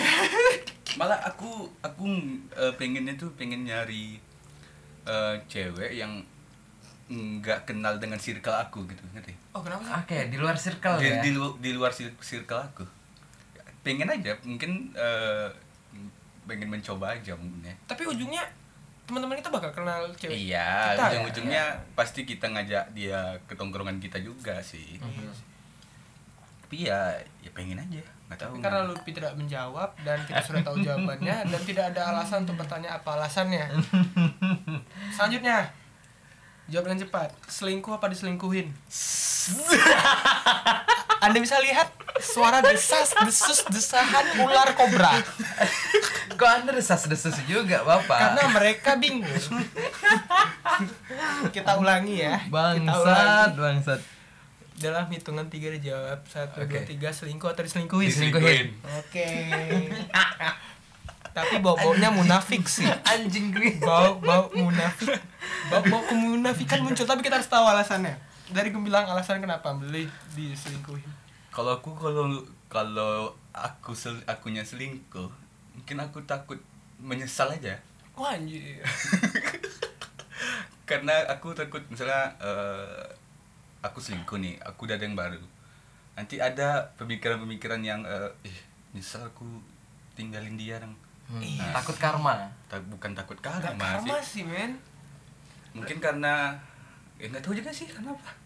Malah aku aku eh, pengennya tuh pengen nyari eh, cewek yang nggak kenal dengan circle aku gitu ngerti? Oh, kenapa sih? Oke, di luar circle di, ya. di, lu- di luar sir- circle aku pengen aja mungkin eh, pengen mencoba aja mungkin ya Tapi ujungnya teman-teman kita bakal kenal cewek. kita ya? iya ujung-ujungnya pasti kita ngajak dia ke tongkrongan kita juga Iya sih Mhm. tapi ya ya pengen aja nggak tahu Tapi karena Lutfi tidak menjawab dan kita sudah tahu jawabannya dan tidak ada alasan untuk bertanya apa alasannya. Selanjutnya, jawab dengan cepat. Selingkuh apa diselingkuhin? Anda bisa lihat suara desas desus desahan ular kobra Kok Anda desas-desus juga, Bapak? karena mereka bingung. kita ulangi ya. Kita bangsat, ulangi. bangsat. Dalam hitungan tiga dijawab satu dua Oke. tiga selingkuh atau diselingkuhin. Diselingkuhin. Oke. Tapi bau-baunya munafik sih. Anjing gini. Bau bau munafik. Bau bau kemunafikan muncul tapi kita harus tahu alasannya. Dari gemilang alasan kenapa beli diselingkuhin. kalau aku kalau kalau aku sel, akunya selingkuh mungkin aku takut menyesal aja Wah anjir. karena aku takut misalnya eh, aku selingkuh nih aku udah ada yang baru nanti ada pemikiran-pemikiran yang eh, ih nyesal aku tinggalin dia dong Hmm, Iya. takut karma. Ta- bukan takut Gak karma karma sih sih men. mungkin karena ya nggak tahu juga sih kenapa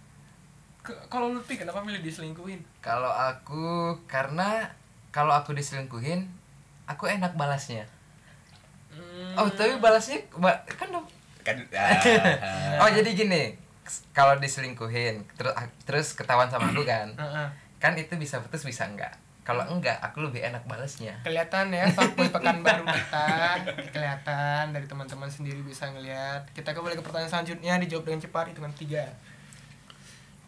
Ke- Kalau Lutfi kenapa milih diselingkuhin? Kalau aku karena kalau aku diselingkuhin, aku enak balasnya. Oh, Hmm. tapi balasnya ba- kan dong. kan ah, Oh, jadi gini. s- Kalau diselingkuhin, terus ah, terus ketahuan sama aku kan. Heeh. Kan itu bisa putus bisa enggak? Kalau enggak, aku lebih enak balasnya. Kelihatan ya fuckboy pekan baru kita Kelihatan dari teman-teman sendiri bisa ngelihat Kita kembali ke pertanyaan selanjutnya Dijawab dengan cepat hitungan tiga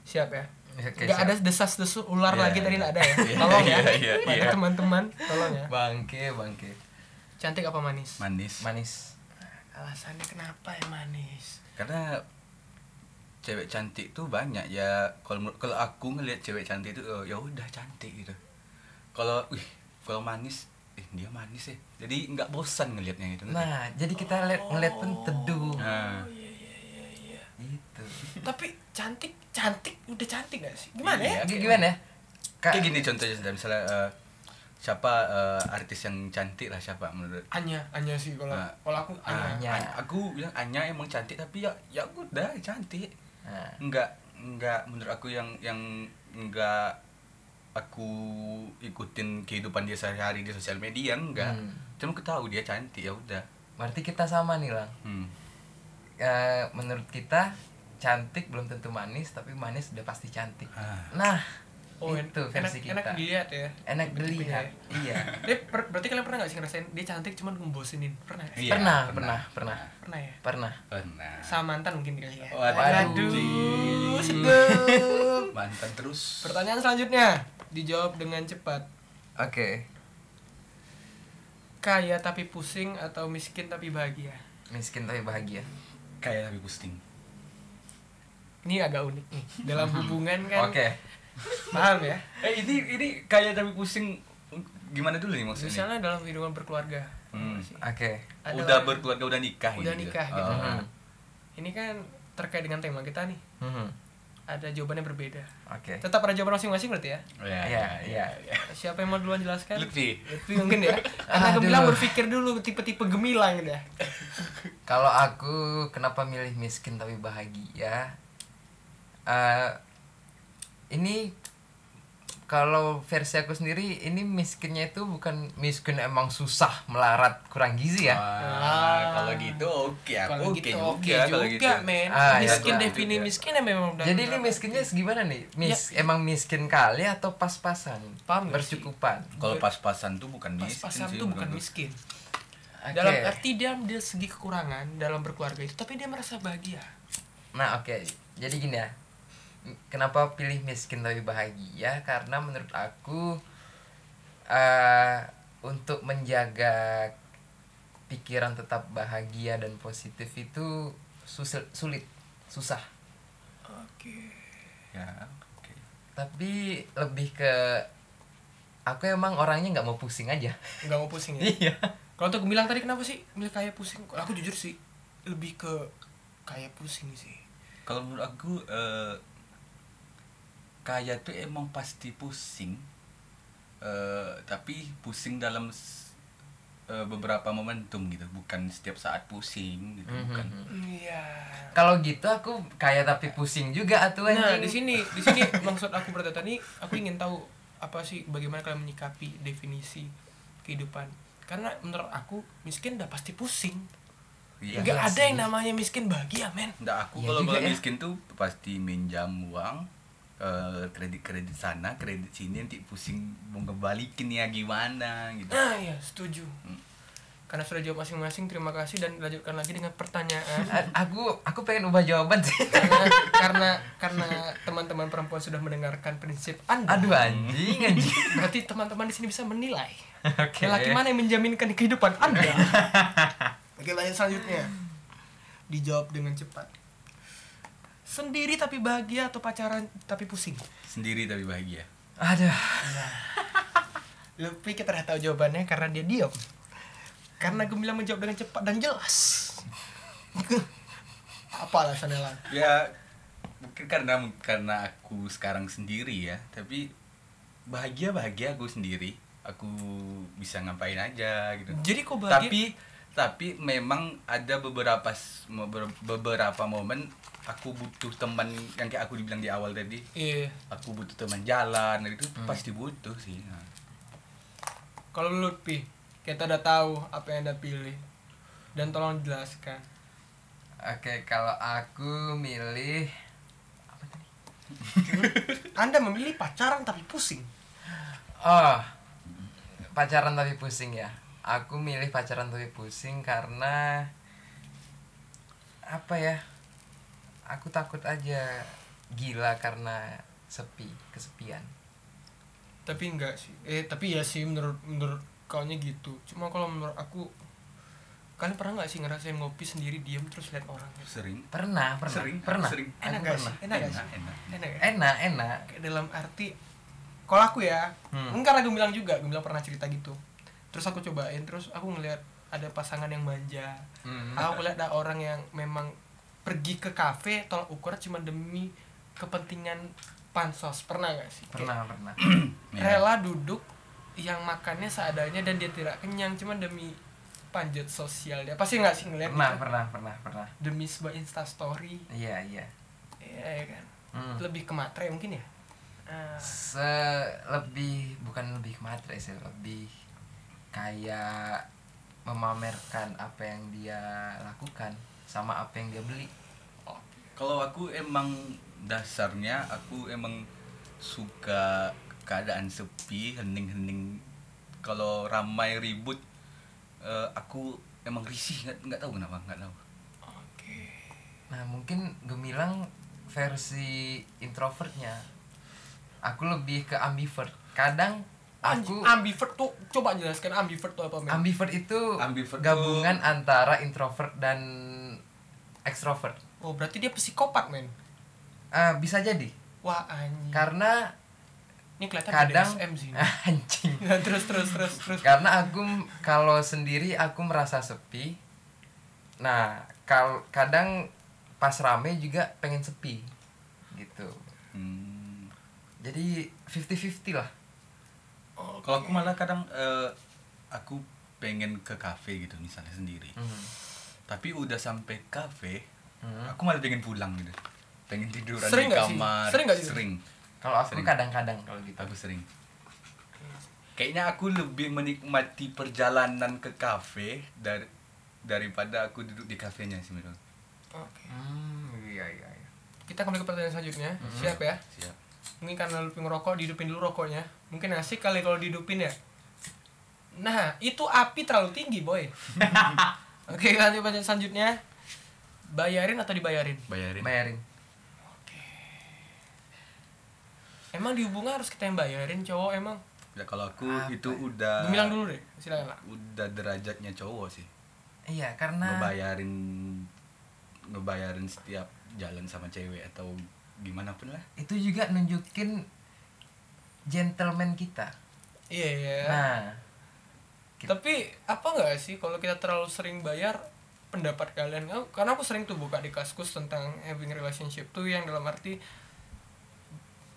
Siap ya Oke, Nggak siap. ada desas-desus ular Iya, lagi tadi iya. nggak ada ya Iya, Tolong ya iya, iya, Pada iya. teman-teman Tolong ya Bangke, bangke. Cantik apa manis? manis Manis. Alasannya kenapa ya manis? karena cewek cantik tuh banyak ya kalau menurut- kalau aku ngelihat cewek cantik itu eh, ya udah cantik gitu kalau wih kalau manis eh dia manis ya jadi nggak bosan ngelihatnya gitu ngerti? Nah, jadi kita lihat ngeliat pun teduh. nah iya. Gitu. Tapi cantik, cantik, udah cantik gak sih? Gimana ya? Iya. Eh, Gimana ya? Kak, kayak gini contohnya misalnya eh, siapa eh, artis yang cantik lah siapa menurut Anya, Anya sih kalau Ah. kalau aku Anya. Anya. A- aku bilang Anya emang cantik tapi ya ya udah cantik Nah, enggak enggak menurut aku yang yang enggak aku ikutin kehidupan dia sehari-hari di sosial media enggak Hmm. cuma aku tahu dia cantik ya udah berarti kita sama nih lang. hmm. Eh, menurut kita cantik belum tentu manis, tapi manis udah pasti cantik. Ah. Nah, en- itu versi Oh, enak, kita. Enak dilihat ya. Enak Tipe-tipenya dilihat. ya. Iya. Dia per- berarti kalian pernah gak sih ngerasain dia cantik cuman ngebosenin? Pernah gak sih? Iya, pernah, pernah. pernah, pernah, Pernah ya? pernah. pernah Sama mantan mungkin kali ya. Iya. Waduh. Waduh, sedap. mantan terus Pertanyaan selanjutnya dijawab dengan cepat. Oke, Kaya tapi pusing atau miskin tapi bahagia? miskin tapi bahagia. kayak tapi pusing Ini agak unik nih. Dalam hubungan kan Oke, paham ya. eh ini ini kayak tapi pusing gimana dulu nih maksudnya Misalnya dalam hubungan berkeluarga. Hmm. oke. Ada udah orang- berkeluarga udah nikah Udah gitu. nikah gitu. Oh. Mhm. Ini kan terkait dengan tema kita nih. Mhm. Ada jawabannya berbeda. Oke. Tetap ada jawaban masing-masing berarti ya. Iya, Iya, iya. iya. Siapa yang mau duluan jelaskan? Lutfi. Lutfi mungkin ya. Karena Aduh. gemilang berpikir dulu tipe-tipe gemilang gitu ya. Kalau aku kenapa milih miskin tapi bahagia? Eh, ini kalau versi aku sendiri ini miskinnya itu bukan miskin emang susah melarat kurang gizi ya. Ah, kalau gitu oke aku Kalau oke gitu juga, oke kalau juga, gitu. men. Ah, iya, miskin iya. defini miskin ya memang udah. Jadi ini miskinnya gimana nih? Mis emang miskin kali atau pas-pasan? Ya. Paham nggak sih? Bercukupan. Kalau pas-pasan tuh bukan miskin pas-pasan sih, tuh bukan miskin. Oke. Dalam arti dia dari segi kekurangan dalam berkeluarga itu tapi dia merasa bahagia. Nah, oke. Jadi gini ya. M- Kenapa pilih miskin tapi bahagia? Karena menurut aku eh untuk menjaga pikiran tetap bahagia dan positif itu susil- sulit, susah. Oke. Ya, oke. Tapi lebih ke aku emang orangnya nggak mau pusing aja. Enggak mau pusing ya. Iya. Kalau tuh bilang tadi kenapa sih milih kayak pusing? Kalau Aku jujur sih lebih ke kayak pusing sih. Kalau menurut aku eh, kaya tuh emang pasti pusing. Eh, tapi pusing dalam s- eh, beberapa momentum gitu, bukan setiap saat pusing Mhm. gitu, bukan. Iya. Kalau gitu aku kaya tapi pusing juga atuh Nah, anjing. di sini di sini maksud aku bertanya tadi aku ingin tahu apa sih bagaimana kalian menyikapi definisi kehidupan. Karena menurut aku miskin udah pasti pusing. Iya. Enggak iya ada sih. yang namanya miskin bahagia, men. Nggak, aku Iya kalau juga kalau ya. miskin tuh pasti minjam uang eh, kredit-kredit sana, kredit sini nanti pusing mau ngebalikin ya gimana gitu. Nah, ya, setuju. Hmm. Karena sudah jawab masing-masing, terima kasih dan lanjutkan lagi dengan pertanyaan. A- aku aku pengen ubah jawaban sih. karena karena karena teman-teman perempuan sudah mendengarkan prinsip Anda. Aduh anjing anjing. Berarti teman-teman di sini bisa menilai. Oke. Lelaki mana yang menjaminkan kehidupan Anda? Oke, lanjut selanjutnya. Dijawab dengan cepat. Sendiri tapi bahagia atau pacaran tapi pusing? Sendiri tapi bahagia. Aduh. Lebih kita udah tahu jawabannya karena dia diam. Karena Gemilang menjawab dengan cepat dan jelas. Apa alasannya lah? Ya mungkin karena karena aku sekarang sendiri ya, tapi bahagia bahagia aku sendiri. Aku bisa ngapain aja gitu. Hmm, Jadi kok bahagia? Tapi tapi memang ada beberapa s- beber- beberapa momen aku butuh teman yang kayak aku dibilang di awal tadi. Iya. aku butuh teman jalan itu pasti butuh sih Ha, Nah. Kalau lu Lutfi, kita udah tahu apa yang Anda pilih. Dan tolong jelaskan. Oke, kalau aku milih Anda memilih pacaran tapi pusing. oh pacaran tapi pusing ya. Aku milih pacaran tapi pusing karena apa ya? Aku takut aja gila karena sepi, kesepian. Tapi enggak sih. Eh, tapi ya sih menurut menurut kaunya gitu. Cuma kalau menurut aku kalian pernah nggak sih ngerasain ngopi sendiri diam terus lihat orang gitu? sering Pernah, pernah, Sering, pernah. sering. Aku Enak gak sih? pernah. Enak ya? gak Enak, sih? enak. Enak gak? Enak, enak. Kayak dalam arti kalau aku ya, Hmm. enggak lah gue bilang juga, gue bilang pernah cerita gitu. Terus aku cobain, terus aku ngelihat ada pasangan yang manja. Hmm. Aku ngeliat ada orang yang memang pergi ke kafe tolak ukur cuma demi kepentingan pansos. Pernah gak sih? Pernah, pernah. Ya. rela duduk yang makannya seadanya dan dia tidak kenyang cuman demi panjat sosial dia pasti nggak sih ngeliat pernah gitu? pernah pernah pernah demi sebuah instastory iya iya Iya ya kan Hmm. lebih ke matre mungkin ya Ah, Se- lebih bukan lebih ke matre sih lebih kayak memamerkan apa yang dia lakukan sama apa yang dia beli Kalau aku emang dasarnya aku emang suka keadaan sepi, hening-hening. Kalau ramai ribut, eh, aku emang risih nggak nggak tahu kenapa nggak tahu. oke nah mungkin gemilang versi introvertnya aku lebih ke ambivert kadang Anjing, aku ambivert tuh coba jelaskan ambivert tuh apa men ambivert itu Ambivert gabungan antara introvert dan extrovert oh berarti dia psikopat men Ah, bisa jadi wah anjing karena ini kelihatan kadang BDSM sih ini. anjing Nah, terus terus terus terus karena aku m- kalau sendiri aku merasa sepi nah kal kadang pas rame juga pengen sepi gitu Hmm. jadi 50-50 lah oh, Kalau aku malah kadang eh, aku pengen ke kafe gitu misalnya sendiri. Hmm. Mhm. Tapi udah sampai kafe, Mhm. aku malah pengen pulang gitu. Pengen tiduran Sering di nggak sih? kamar. Sering nggak sih? Sering. kalau aku Sering. kadang-kadang kalau gitu Aku sering. Kayaknya aku lebih menikmati perjalanan ke kafe dari daripada aku duduk di kafenya sih menurut. aku. Oke. hmm iya iya iya kita kembali ke pertanyaan selanjutnya siap ya Siap. Mungkin karena lu ngerokok, dihidupin dulu rokoknya. Mungkin asik kali kalau dihidupin ya. Nah, itu api terlalu tinggi, boy. Oke, lanjut pertanyaan selanjutnya. Bayarin atau dibayarin? Bayarin. bayarin Emang di hubungan harus kita yang bayarin cowok emang? Ya, kalau aku Apa itu ya? udah Bilang dulu deh, silakan lah. udah derajatnya cowok sih. iya Nah. karena Ngebayarin ngebayarin setiap jalan sama cewek atau gimana pun lah. itu juga nunjukin gentleman kita Iya, iya. nah kita- Tapi apa nggak sih kalau kita terlalu sering bayar pendapat kalian? Oh, Karena aku sering tuh buka di kaskus tentang having relationship tuh yang dalam arti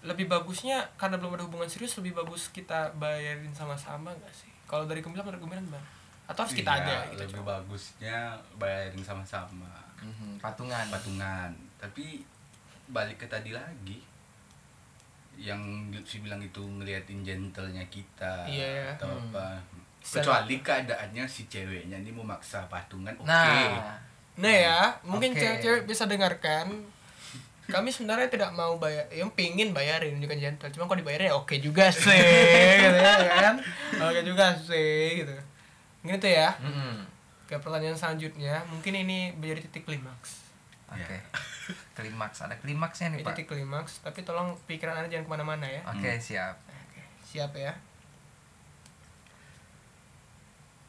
lebih bagusnya karena belum ada hubungan serius lebih bagus kita bayarin sama-sama nggak sih? Kalau dari gemilang menurut gemilang gimana? Atau harus kita Iya, aja gitu? lebih coba? bagusnya bayarin sama-sama. Mhm, patungan Patungan. Tapi balik ke tadi lagi yang Lutfi bilang itu ngeliatin gentlenya kita Iya. atau Hmm. apa. Secara- Kecuali keadaannya si ceweknya ini memaksa patungan, oke. nah Nah ya, mungkin Oke. cewek-cewek bisa dengarkan. Kami sebenarnya tidak mau bayar, yang pingin bayarin juga jantan. Cuma kalau dibayarin ya oke juga sih, gitu ya kan? Oke juga sih, gitu. Mungkin itu ya. Mhm. Ke pertanyaan selanjutnya, mungkin ini menjadi titik klimaks. Oke. Klimaks, ada klimaksnya Ini nih, Pak. Oke, titik klimaks, tapi tolong pikiran anda jangan kemana-mana ya. Ah. siap. Oke, siap ya.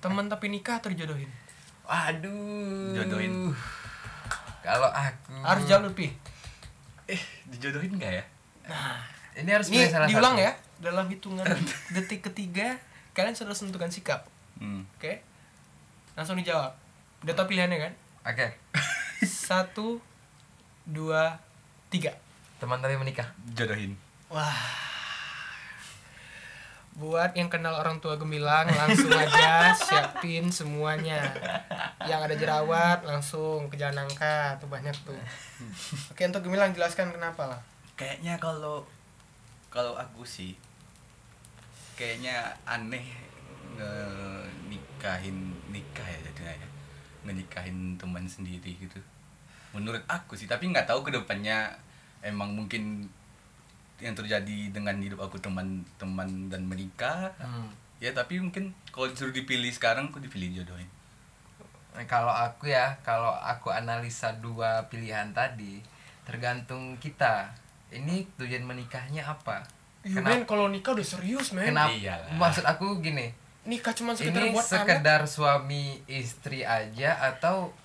Teman tapi nikah atau dijodohin? Waduh. Jodohin. Kalau aku Harus jawab lebih. Eh, dijodohin nggak ya? Hmm. Ini harus Ini pilih salah diulang satu. ya, dalam hitungan detik ketiga kalian sudah sentuhkan sikap. Hmm. Oke. Langsung dijawab. Udah tau pilihannya kan? Oke. Satu, dua, tiga. Teman tapi menikah. Jodohin. Wah. Buat yang kenal orang tua gemilang langsung aja siapin semuanya. Yang ada jerawat langsung ke jalan angka tuh banyak tuh. Oke untuk gemilang jelaskan kenapa lah. Kayaknya kalau kalau aku sih kayaknya aneh nikahin nikah ya jadinya ya ngenikahin teman sendiri gitu menurut aku sih tapi nggak tahu kedepannya emang mungkin yang terjadi dengan hidup aku teman-teman dan menikah Hmm. ya tapi mungkin kalau disuruh dipilih sekarang aku dipilih jodohin Nah, Kalau aku ya, kalau aku analisa dua pilihan tadi, tergantung kita. Ini tujuan menikahnya apa? Iya Kenapa- men, kalau nikah udah serius men. Kenapa? Iyalah. Maksud aku gini, Nikah cuma sekedar ini buat anak. sekedar suami istri aja atau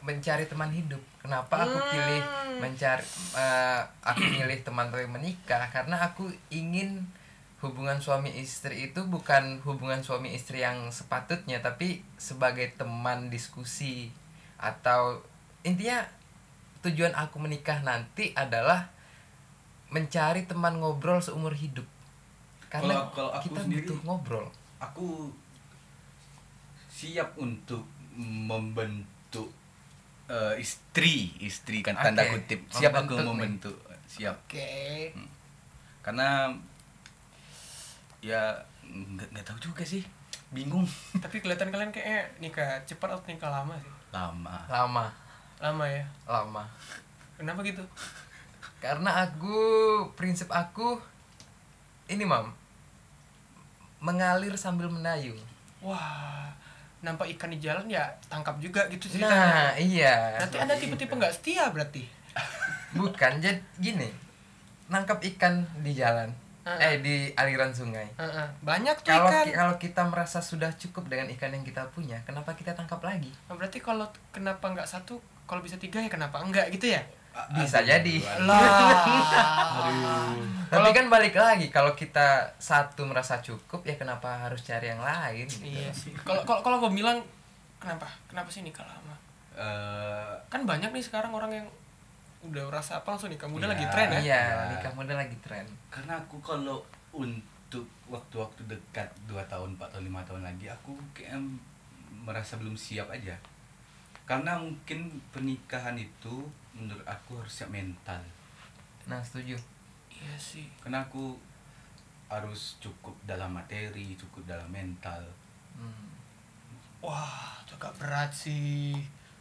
mencari teman hidup kenapa aku pilih mencari eh, aku milih teman tapi menikah karena aku ingin hubungan suami istri itu bukan hubungan suami istri yang sepatutnya tapi sebagai teman diskusi atau intinya tujuan aku menikah nanti adalah mencari teman ngobrol seumur hidup karena Kalau- kalau aku kita sendiri- butuh ngobrol aku siap untuk membentuk eh, istri istri kan tanda Oke. kutip siap aku Membentuk nih. membentuk siap Oke. karena ya nggak nggak tahu juga sih bingung Tapi kelihatan kalian kayaknya nikah cepat atau nikah lama sih? lama lama Lama ya. lama Kenapa gitu? karena aku prinsip aku ini mam mengalir sambil mendayung Wah, nampak ikan di jalan ya tangkap juga gitu ceritanya. nah iya Nanti ada tipe-tipe nggak setia berarti. bukan jadi gini nangkap ikan di jalan Heeh. eh di aliran sungai Heeh, Banyak tuh kalau ikan. ki- kalau kita merasa sudah cukup dengan ikan yang kita punya kenapa kita tangkap lagi Nah, berarti kalau kenapa nggak satu, kalau bisa tiga ya kenapa enggak gitu ya? bisa jadi Lah. tapi kan balik lagi kalau kita satu merasa cukup ya kenapa harus cari yang lain gitu. iya sih. Kalau kalau kalau gue bilang kenapa? Kenapa sih nikah lama? Eh, Kan banyak nih sekarang orang yang udah rasa apa langsung nikah muda Iya. lagi tren ya. iya Iya. nikah muda lagi tren karena aku kalau untuk waktu-waktu dekat 2 tahun 4 tahun 5 tahun lagi aku kayak merasa belum siap aja karena mungkin pernikahan itu menurut aku harus siap mental nah setuju Iya sih. karena aku harus cukup dalam materi cukup dalam mental Hmm. Wah, itu agak berat sih.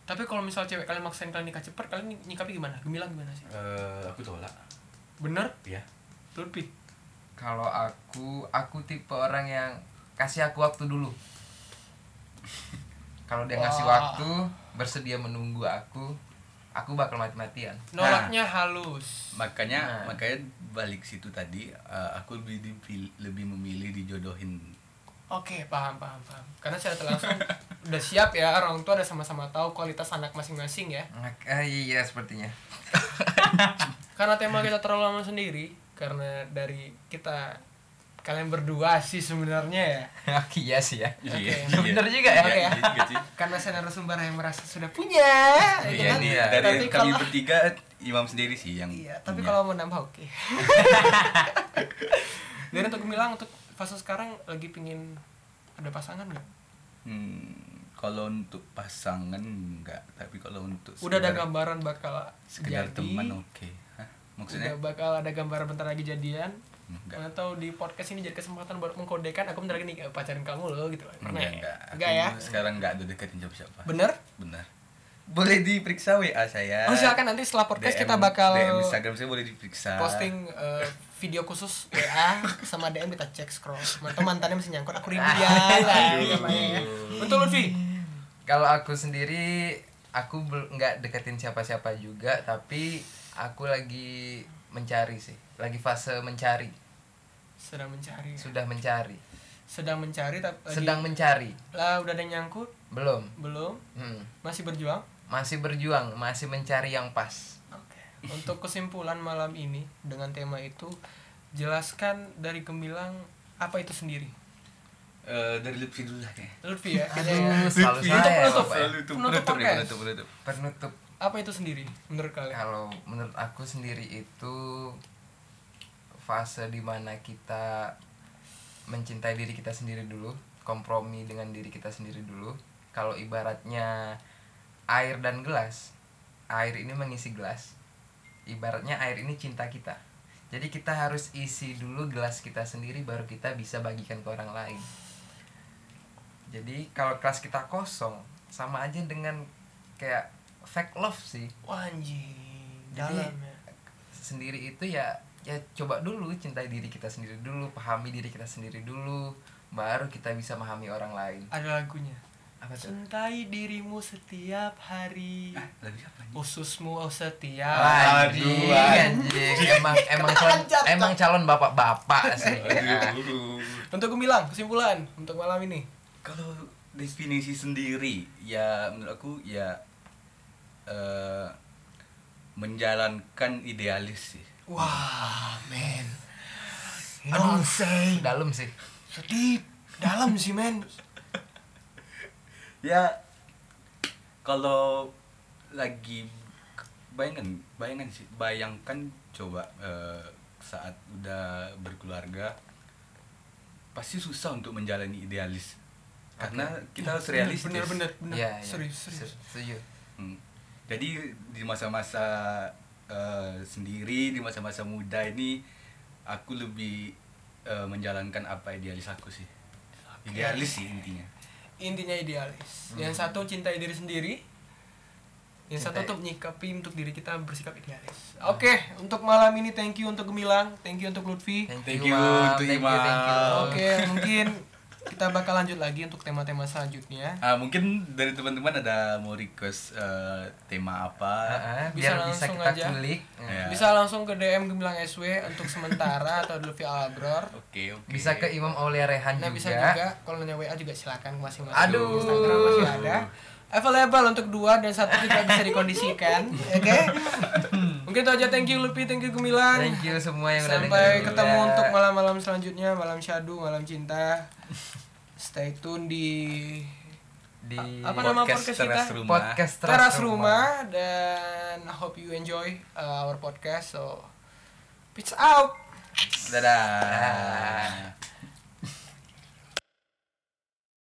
Tapi kalau misal cewek kalian maksain kalian nikah cepat, kalian ny- nyikapi gimana? Gemilang gimana sih? Eh, aku tolak Bener? ya Lutfi? kalau aku aku tipe orang yang kasih aku waktu dulu kalau dia ngasih Wah. waktu bersedia menunggu aku aku bakal mati-matian Nolaknya halus. makanya Nah. makanya balik situ tadi eh, aku lebih dipil- lebih memilih dijodohin Oke, paham, paham, paham. Karena secara tidak langsung udah siap ya, orang tua udah sama-sama tahu kualitas anak masing-masing ya. Mak- eh, iya sepertinya Karena tema kita terlalu lama sendiri, karena dari kita kalian berdua sih sebenarnya ya. iya sih ya Iya. bener juga ya Oke. Iya, iya juga sih. Karena saya narasumber yang merasa sudah punya. gitu Iya, kan? iya. dari Tapi kami kalau- bertiga imam sendiri sih yang Iya, tapi punya. kalau mau nambah oke. Dan untuk bilang untuk fase sekarang lagi pingin ada pasangan nggak? Hmm, kalau untuk pasangan enggak tapi kalau untuk Udah ada sekedar- gambaran bakal jadi. sekedar teman oke Hah? maksudnya Udah bakal ada gambaran bentar lagi jadian. Enggak. Atau di podcast ini jadi kesempatan buat mengkodekan aku bentar lagi nikah pacaran kamu loh gitu. Pernah enggak ya? enggak Aku Enggak ya? sekarang enggak ada deketin siapa siapa Bener? benar boleh diperiksa wa saya Oh silakan nanti setelah podcast kita bakal DM Instagram saya boleh diperiksa posting eh, video khusus WA sama DM kita cek scroll. Mantap mantannya masih nyangkut aku rindu dia. lah, Ah, Aduh. namanya ya. Untuk Lutfi. kalau aku sendiri aku bel- nggak deketin siapa-siapa juga tapi aku lagi mencari sih lagi fase mencari Sedang mencari. sudah mencari Sedang mencari tapi lagi- sedang mencari lah udah ada yang nyangkut belum belum Hmm. masih berjuang masih berjuang masih mencari yang pas oke untuk kesimpulan malam ini dengan tema itu jelaskan dari gemilang apa itu sendiri Eh, dari Lutfi dulu lah kayaknya Lutfi ya kayaknya ya. Aduh, selalu Lutfi. saya Penutup, Bapak ya. penutup Penutup penutup nih, podcast. penutup penutup penutup apa itu sendiri menurut kalian kalau menurut aku sendiri itu fase dimana kita mencintai diri kita sendiri dulu kompromi dengan diri kita sendiri dulu kalau ibaratnya air dan gelas air ini mengisi gelas ibaratnya air ini cinta kita jadi kita harus isi dulu gelas kita sendiri baru kita bisa bagikan ke orang lain jadi kalau gelas kita kosong sama aja dengan kayak fake love sih Wah, anjing Jadi- dalam ya sendiri itu ya ya coba dulu cintai diri kita sendiri dulu pahami diri kita sendiri dulu baru kita bisa memahami orang lain ada lagunya apa tuh cintai dirimu setiap hari ah lagu siapa ini ususmu oh setiap Anjing, anjing. emang emang calon emang calon bapak-bapak sih. Aduh. untuk gemilang kesimpulan untuk malam ini kalau definisi sendiri ya menurut aku ya eh, menjalankan idealis sih wah men aduh Dalam sih. sedih dalam sih men ya kalau lagi bayangkan bayangkan sih bayangkan coba eh, saat udah berkeluarga pasti susah untuk menjalani idealis karena kita harus realistis bener bener bener Iya, iya. serius serius Se- Setuju. Hmm. Jadi di masa-masa eh, sendiri, di masa-masa muda ini aku lebih eh, menjalankan apa idealis aku sih. Idealis sih intinya. intinya idealis yang satu cintai diri sendiri yang satu Cintai. untuk menyikapi untuk diri kita bersikap idealis oke untuk malam ini thank you untuk Gemilang thank you untuk Lutfi Thank you untuk Imam. oke mungkin kita bakal lanjut lagi untuk tema-tema selanjutnya Ah, mungkin dari teman-teman ada mau request eh, tema apa? Heeh, Bisa biar bisa langsung kita aja. Iya, kulik. Nah, Ya. bisa langsung ke DM Gemilang SW untuk sementara atau Lutfi Alabror Oke, oke. Bisa ke Imam Aulia Rehan nah juga. bisa juga kalau nanya WA juga silakan ke masing-masing Iya. Aduh. Instagram masih ada available untuk dua dan satu tidak bisa dikondisikan Iya. oke mungkin itu aja thank you Lutfi thank you Gemilang Thank you semua yang udah Sampai dengerin ketemu juga. untuk malam-malam selanjutnya, malam syadu, malam cinta. Stay tune di di apa nama podcast kita? Teras Rumah. podcast Teras Rumah dan I hope you enjoy uh, our podcast. So peace out. Dadah.